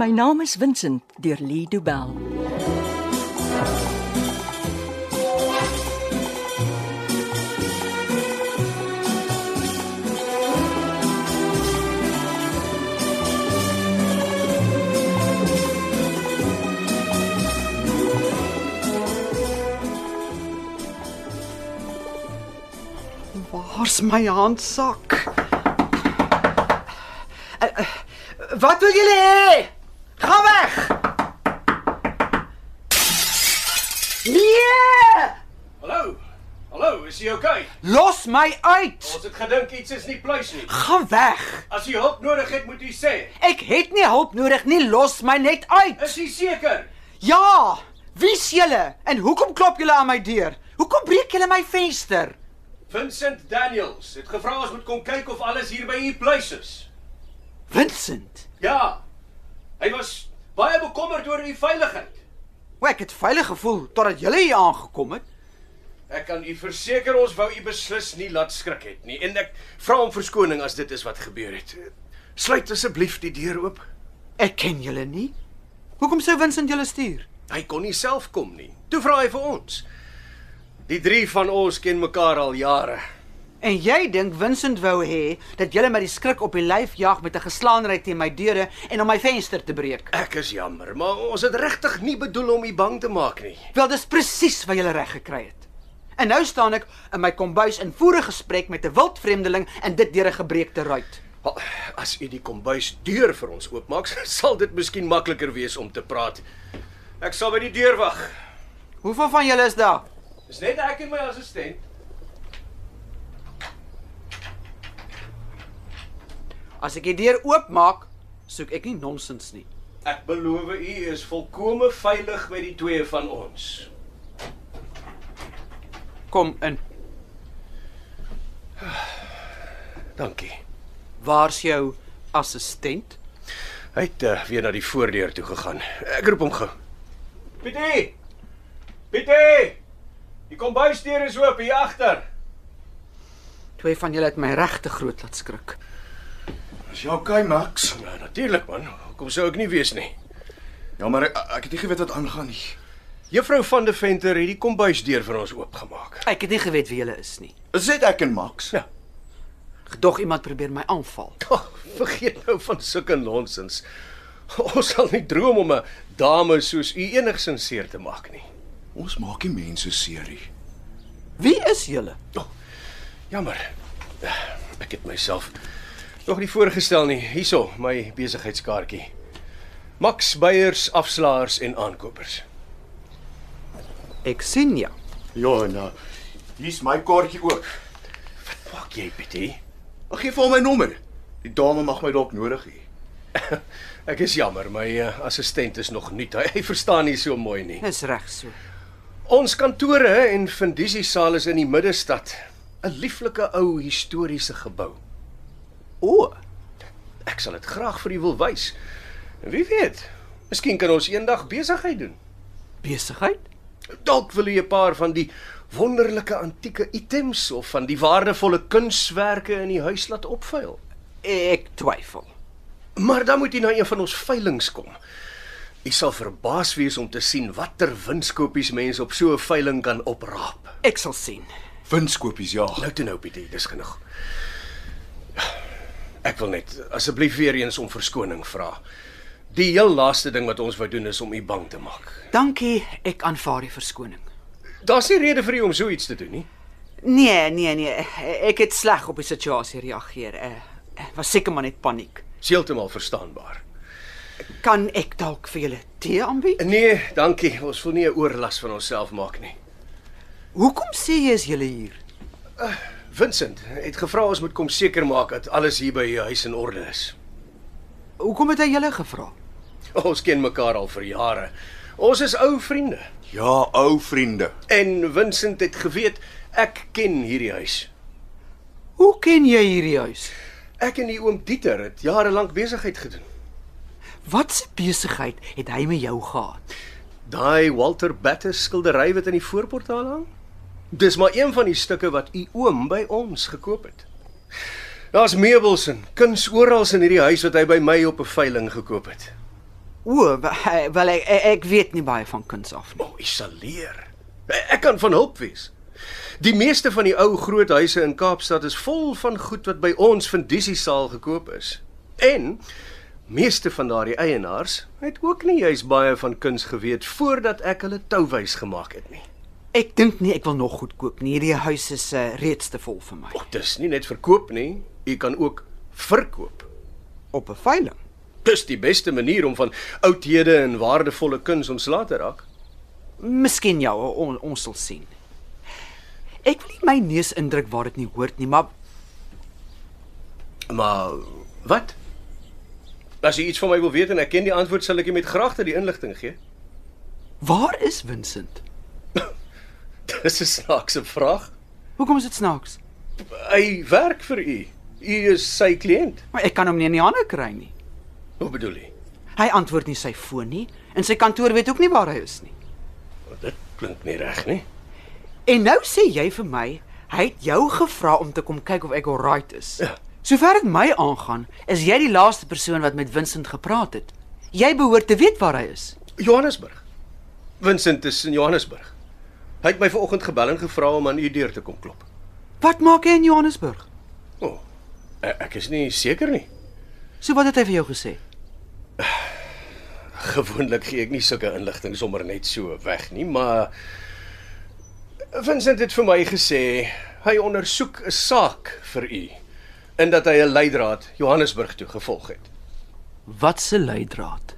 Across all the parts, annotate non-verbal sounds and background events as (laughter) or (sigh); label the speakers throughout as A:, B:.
A: My naam is Vincent deur Lee Du Bell.
B: Waar's my handsak? Eh, eh, Wat wil julle hê? Gaan weg. Nee!
C: Hallo. Hallo, is jy okay?
B: Los my uit.
C: Ons het gedink iets is nie pluis nie.
B: Gaan weg.
C: As jy hulp nodig het, moet jy sê.
B: Ek het nie hulp nodig nie. Los my net uit.
C: Is jy seker?
B: Ja. Wie's julle? En hoekom klop julle aan my deur? Hoekom breek julle my venster?
C: Vincent Daniels het gevra ons moet kom kyk of alles hier by u pluis is.
B: Vincent,
C: Ja. Hy was baie bekommerd oor u veiligheid.
B: o, ek het veilig gevoel totdat julle hier aangekom het.
C: Ek kan u verseker ons wou u beslis nie laat skrik het nie en ek vra om verskoning as dit is wat gebeur het. Sluit asseblief die deur oop.
B: Ek ken julle nie. Hoekom sou Vincent julle stuur?
C: Hy kon nie self kom nie. Toe vra hy vir ons. Die drie van ons ken mekaar al jare.
B: En jy dink Vincent wou hê dat julle my die skrik op die lyf jag met 'n geslaanry teen my deure en om my venster te breek.
C: Ek is jammer, maar ons het regtig nie bedoel om u bang te maak nie.
B: Wel, dis presies wat julle reg gekry het. En nou staan ek in my kombuis in voerige gesprek met 'n wild vreemdeling en dit deur 'n gebreekte ruit.
C: Wel, as u die kombuis deur vir ons oopmaak, (laughs) sal dit miskien makliker wees om te praat. Ek sal by die deur wag.
B: Hoeveel van julle is daar?
C: Dis net ek en my assistent.
B: As ek die deur oopmaak, soek ek nie nonsens nie.
C: Ek beloof u is volkome veilig by die twee van ons.
B: Kom in.
C: Dankie.
B: Waar's jou assistent?
C: Hy het uh, weer na die voordeur toe gegaan. Ek roep hom gou. Pietie! Pietie! Die kombuisdeur is oop hier agter.
B: Twee van julle het my regtig groot laat skrik.
D: Is jy okay, Max?
C: Ja, natuurlik man. Hoekom sou ek nie weet nie?
D: Ja, maar ek, ek het nie geweet wat aangaan nie.
C: Juffrou van der Venter het die kombuisdeur vir ons oopgemaak.
B: Ek het nie geweet wie julle is nie.
D: Is dit ek en Max?
C: Ja.
B: Gedog iemand probeer my aanval.
C: (laughs) Oh, vergeet nou van sulke nonsens. Ons sal nie droom om 'n dame soos u enigsins seer te maak nie.
D: Ons maak nie mense seer nie.
B: Wie is julle?
C: Oh, jammer. Ek het myself nog nie voorgestel nie. Hierso my besigheidskaartjie. Max Beyers afslaers en aankopers.
B: Ek sien jou.
D: Ja, nou. Hier's my kaartjie ook.
C: Maak jy bietjie?
D: Ag gee vir hom my nommer. Die dame mag my dalk nodig hê.
C: Ek is jammer, my uh, assistent is nog nie. (laughs) Hy, hy verstaan nie so mooi nie.
B: Dis reg so.
C: Ons kantore en vendisiesaal is in die middestad. 'n Lieflike ou historiese gebou.
B: O,
C: Ek sal dit graag vir u wil wys. En Wie weet, miskien kan ons eendag besigheid doen.
B: besigheid?
C: Dalk wil u 'n paar van die wonderlike antieke items of van die waardevolle kunswerke in die huis laat opveil.
B: Ek twyfel.
C: Maar dan moet u na een van ons veilinge kom. U sal verbaas wees om te sien watter winskoopies mense op so 'n veiling kan opraap.
B: Ek sal sien.
D: Winskoopies, ja.
C: Nou toe nou Pietie, dis genoeg. Ek wil net asseblief weer eens om verskoning vra. Die heel laaste ding wat ons wou doen is om u bang te maak.
B: Dankie, ek aanvaar die verskoning.
C: Daar's nie rede vir u om so iets te doen nie.
B: Nee, nee, nee. Ek het sleg op die situasie reageer. Eh, was seker maar net paniek.
C: Is Heeltemal verstaanbaar.
B: Kan ek dalk vir julle tee aanbied?
C: Nee, dankie. Ons wil nie 'n oorlas van onsself maak nie.
B: Hoekom sê jy is julle hier?
C: Vincent het gevra ons moet kom seker maak dat alles hier by u huis in orde is.
B: Hoekom het hy julle gevra?
C: Ons ken mekaar al vir jare. Ons is ou vriende
D: Ja, ou vriende.
C: en Vincent het geweet ek ken hierdie huis.
B: Hoe ken jy hierdie huis?
C: Ek en die oom Dieter het jare lank besigheid gedoen.
B: Wat 'n besigheid het hy met jou gehad?
C: Daai Walter Battes skildery wat in die voorportaal hang? Dis maar een van die stukke wat u oom by ons gekoop het. Daar's meubels en kuns oral in hierdie huis wat hy by my op 'n veiling gekoop het.
B: O, wa- eh, wel ek, ek- ek weet nie baie van kuns af nie.
C: O, isoleer. Ek kan van hulp wees. Die meeste van die ou groot huise in Kaapstad is vol van goed wat by ons van Dissiesaal gekoop is. En meeste van daardie eienaars het ook nie juis baie van kuns geweet voordat ek hulle touwys gemaak het nie.
B: Ek dink nie ek wil nog goed koop nie. Hierdie huis is uh, reeds te vol vir my.
C: O, dis nie net verkoop nie, u kan ook verkoop.
B: Op 'n veiling.
C: Dis die beste manier om van oudhede en waardevolle kuns ontslae te raak.
B: Miskien ja, on, ons sal sien. Ek wil nie my neus indruk waar dit nie hoort nie, maar
C: Maar wat? As jy iets van my wil weet en ek ken die antwoord, sal ek jou met graagte die inligting gee. (laughs)
B: waar is Vincent?
C: Dis 'n snaakse vraag.
B: Hoekom is dit snaaks?
C: Hy werk vir u. U is sy kliënt.
B: Maar ek kan hom nie in die hande kry nie.
C: Hoe bedoel jy?
B: Hy antwoord nie sy foon nie en sy kantoor weet ook nie waar hy is nie.
C: Dit klink nie reg nie.
B: En nou sê jy vir my, hy het jou gevra om te kom kyk of ek alright is.
C: Ja.
B: Sover dit my aangaan, is jy die laaste persoon wat met Vincent gepraat het. Jy behoort te weet waar hy is.
C: Johannesburg. Vincent is in Johannesburg. Hy het my vanoggend gebel en gevra om aan u deur te kom klop.
B: Wat maak hy in Johannesburg?
C: O, oh, ek is nie seker nie.
B: So wat het hy vir jou gesê?
C: Gewoonlik gee ek nie sulke inligting sommer net so weg nie, maar Vincent het vir my gesê hy ondersoek 'n saak vir u en dat hy 'n leidraad Johannesburg toe gevolg het.
B: Wat se leidraad?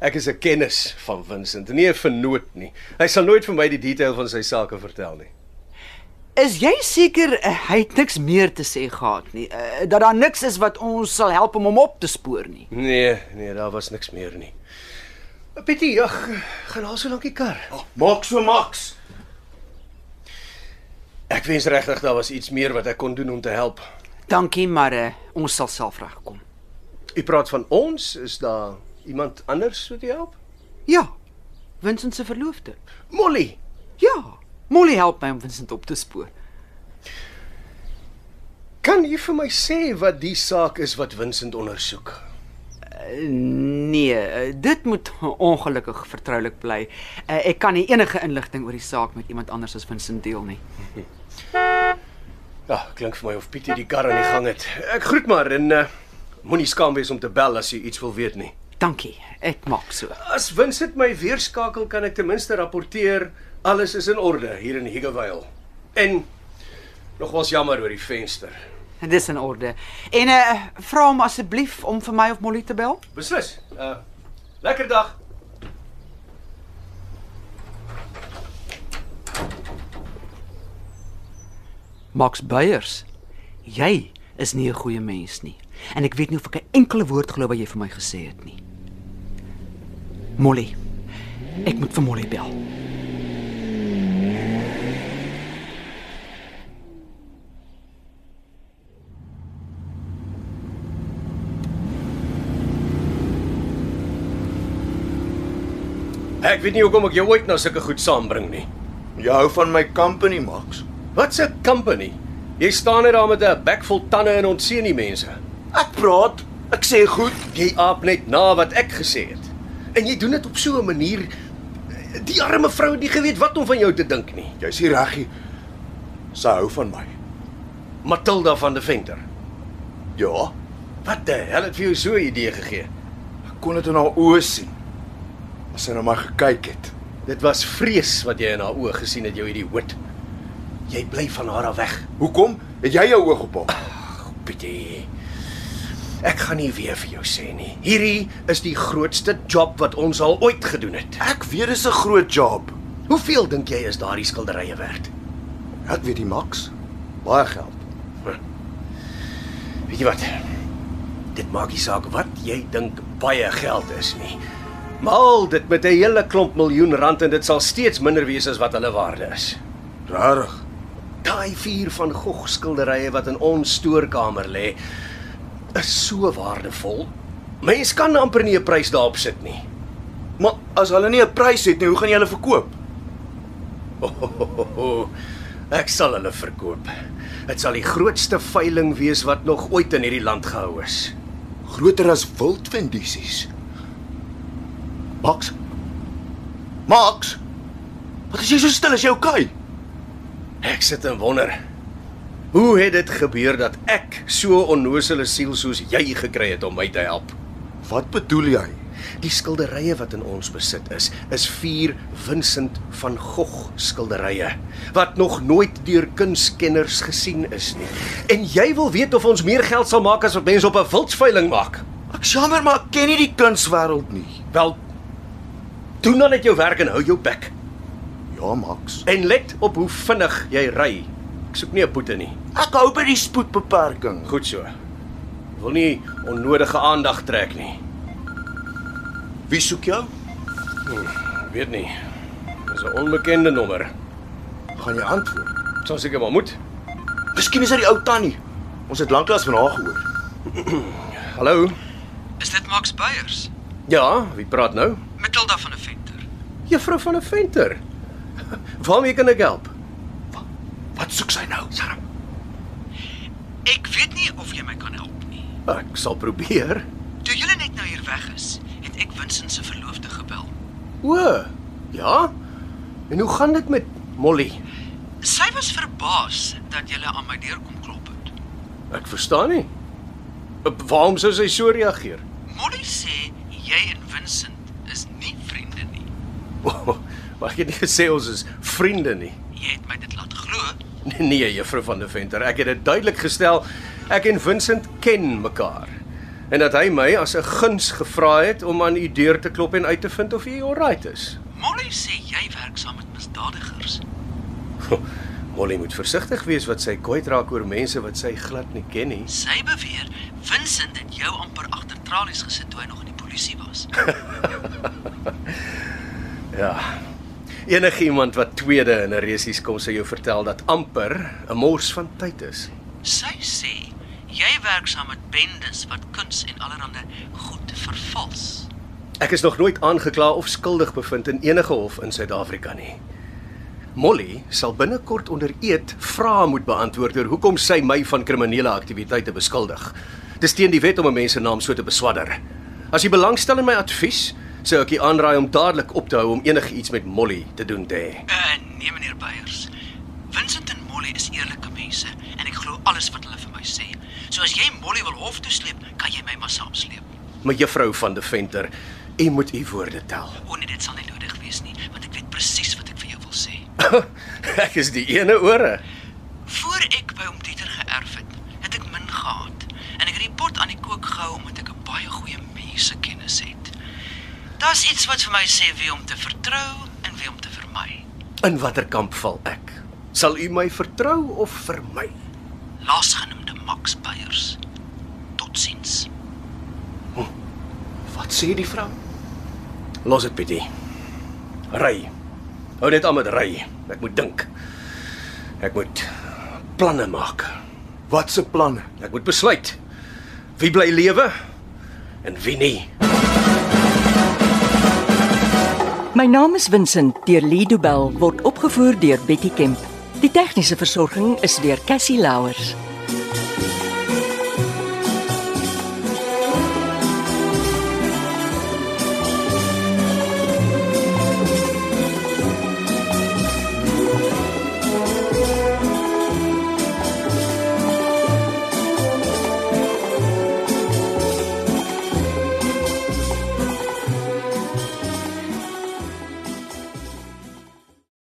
C: Ek is 'n kennis van Vincent, nie 'n vernoot nie. Hy sal nooit vir my die detail van sy sake vertel nie.
B: Is jy seker uh, hy het niks meer te sê gehad nie? Uh, dat daar niks is wat ons sal help om hom op te spoor nie.
C: Nee, nee, daar was niks meer nie. Pietie, jag, gaan haal so lank die kar.
D: Ah, Maak so maks.
C: Ek wens regtig daar was iets meer wat ek kon doen om te help.
B: Dankie, maar uh, ons sal self regkom.
C: U praat van ons, is daar iemand anders wat u help?
B: Ja. Vincent se verloofde.
C: Molly.
B: Ja. Molly help my om Vincent op te spoor.
C: Kan jy vir my sê wat die saak is wat Vincent ondersoek?
B: Nee, eh, dit moet ongelukkig vertroulik bly. Eh, Ek kan nie enige inligting oor die saak met iemand anders as Vincent deel nie.
C: Ja, klink vir my of Pietie die kar aan die gang het. Ek groet maar en uh, moenie skaam wees om te bel as jy iets wil weet nie.
B: Dankie. Ek maak so.
C: As Vincent my weer skakel, kan ek ten minste rapporteer alles is in orde hier in Higgovale. En nogals jammer oor die venster.
B: Dis in orde. En eh vra hom asseblief om vir my of Molly te bel.
C: Beslis. Uh lekker dag.
B: Max Beyers, jy is nie 'n goeie mens nie. En ek weet nie of ek 'n enkele woord glo wat jy vir my gesê het nie. Molly. Ek moet vir Molly bel.
C: Ek weet nie hoekom ek jou ooit na sulke goed saambring nie.
D: Jy hou van my company, Max.
C: Wat 'n company. Jy staan net daar met 'n bek vol tande en ontseën die mense.
D: Ek praat. Ek sê goed.
C: Jy aap net na wat ek gesê het. En jy doen dit op so 'n manier die arme vrou het nie geweet wat om van jou te dink nie.
D: Jy's hier reggie. Sy hou van my.
C: Matilda van der Venter.
D: Ja.
C: Wat die hel het vir jou so 'n idee gegee?
D: Ek kon dit in haar oë sien. As sy na my gekyk het.
C: Dit was vrees wat jy in haar oë gesien het, jou idioot. Jy bly van haar af weg,
D: Hoekom? Het jy jou oog op haar?
C: Pietie. Ek gaan nie weer vir jou sê nie. Hierdie is die grootste job wat ons al ooit gedoen het.
D: Ek weet dis 'n groot job.
C: Hoeveel dink jy is daardie skilderye werd?
D: Ek weet die Max. Baie geld.
C: Weet jy wat? Dit maak nie saak wat jy dink baie geld is nie. Maal dit met 'n hele klomp miljoen rand en dit sal steeds minder wees as wat hulle waarde is.
D: Regtig.
C: Daai vier van Gogh skilderye wat in ons stoorkamer lê, is so waardevol. Mens kan amper nie 'n prys daarop sit nie.
D: Maar as hulle nie 'n prys het nie, hoe gaan jy hulle verkoop?
C: Oh, oh, oh, oh. Ek sal hulle verkoop. Dit sal die grootste veiling wees wat nog ooit in hierdie land gehou is.
D: Groter as wildvindisies. Max. Max. Wat is jy so stil? Is jy okay?
C: Ek sit en wonder. Hoe het dit gebeur dat ek so onnosele siel soos jy gekry het om my te help?
D: Wat bedoel jy?
C: Die skilderye wat in ons besit is, is vier Vincent van Gogh skilderye wat nog nooit deur kunstkenners gesien is nie. En jy wil weet of ons meer geld sal maak as wat mense op 'n wildsveiling maak?
D: Ek jammer maar ek ken nie die kunswêreld nie.
C: Wel, doen dan net jou werk en hou jou bek.
D: Ja, Max.
C: En let op hoe vinnig jy ry. Ek soek nie 'n boete nie.
D: Ek hou by die spoedbeperking.
C: Goed so. Wil nie onnodige aandag trek nie.
D: Wie soek jou?
C: Ek weet nie. Dis 'n onbekende nommer.
D: Gaan jy antwoord?
C: Sou seker maar moet.
D: Miskien is dit die ou tannie. Ons het lanklaas van haar gehoor.
C: Hallo.
B: Is dit Max Beyers?
C: Ja, wie praat nou?
B: Matilda van 'n venter.
C: Juffrou van der Venter. (laughs) Waarmee kan ek help?
D: Wat soek sy nou?
B: Sarm. Ek weet nie of jy my kan help nie.
C: Ek sal probeer.
B: Toe julle net nou hier weg is, het ek Vincent se verloofde gebel.
C: O, ja. En hoe gaan dit met Molly?
B: Sy was verbaas dat julle aan my deur kom klop het.
C: Ek verstaan nie. Op waarom sou sy so reageer? (laughs)
B: Molly sê jy en Vincent is nie vriende nie.
C: Oh, maar ek het nie gesê ons is vriende nie.
B: Jy het my dit laat glo.
C: (laughs) Nee, juffrou van der Venter, ek het dit duidelik gestel. Ek en Vincent ken mekaar. En dat hy my as 'n guns gevra het om aan u deur te klop en uit te vind of u alright is.
B: Molly sê jy werk saam met misdadigers.
C: Molly moet versigtig wees wat sy kwytraak oor mense wat sy glad nie ken nie.
B: Sy beweer Vincent het jou amper agter tralies gesit toe hy nog in die polisie was.
C: Ja. Enigiemand wat tweede in 'n resies kom sal jou vertel dat amper 'n mors van tyd is.
B: Sy sê jy werk saam met bendes wat kuns en allerlei goed vervals.
C: Ek is nog nooit aangekla of skuldig bevind in enige hof in Suid-Afrika nie. Molly sal binnekort onder eed vrae moet beantwoord oor hoekom sy my van kriminele aktiwiteite beskuldig. Dis teen die wet om 'n mens se naam so te beswadder. As jy belangstel in my advies, sou ek jou aanraai om dadelik op te hou om enigiets met Molly te doen te hê.
B: Uh, nee meneer Beyers. Vincent en Molly is eerlike mense en ek glo alles wat hulle vir my sê. So as jy Molly wil hof toe sleep, kan jy my maar saamsleep.
C: Maar juffrou van der Venter, u moet u woorde tel. (laughs)
B: O nee, dit sal nie nodig wees nie, want ek weet presies wat ek vir jou wil sê.
C: ek is die ene ore.
B: Voor ek by hom Dieter geërf het, het ek min gehad en ek het die pot aan die kook gehou omdat ek 'n baie goeie mense kennis het. Daar's iets wat vir my sê wie om te vertrou en wie om te vermy.
C: In watter kamp val ek? Sal u my vertrou of vermy?
B: Laasgenoemde Max Beyers. Totsiens.
D: Wat sê die vrou?
C: Los dit, Pietie. Ry. Hou net aan met ry. Ek moet dink. Ek moet planne maak.
D: Wat se planne?
C: Ek moet besluit wie bly lewe en wie nie.
A: My naam is Vincent deur Lido Bell word opgevoer deur Betty Kemp. Die tegniese versorging is deur Cassie Louers.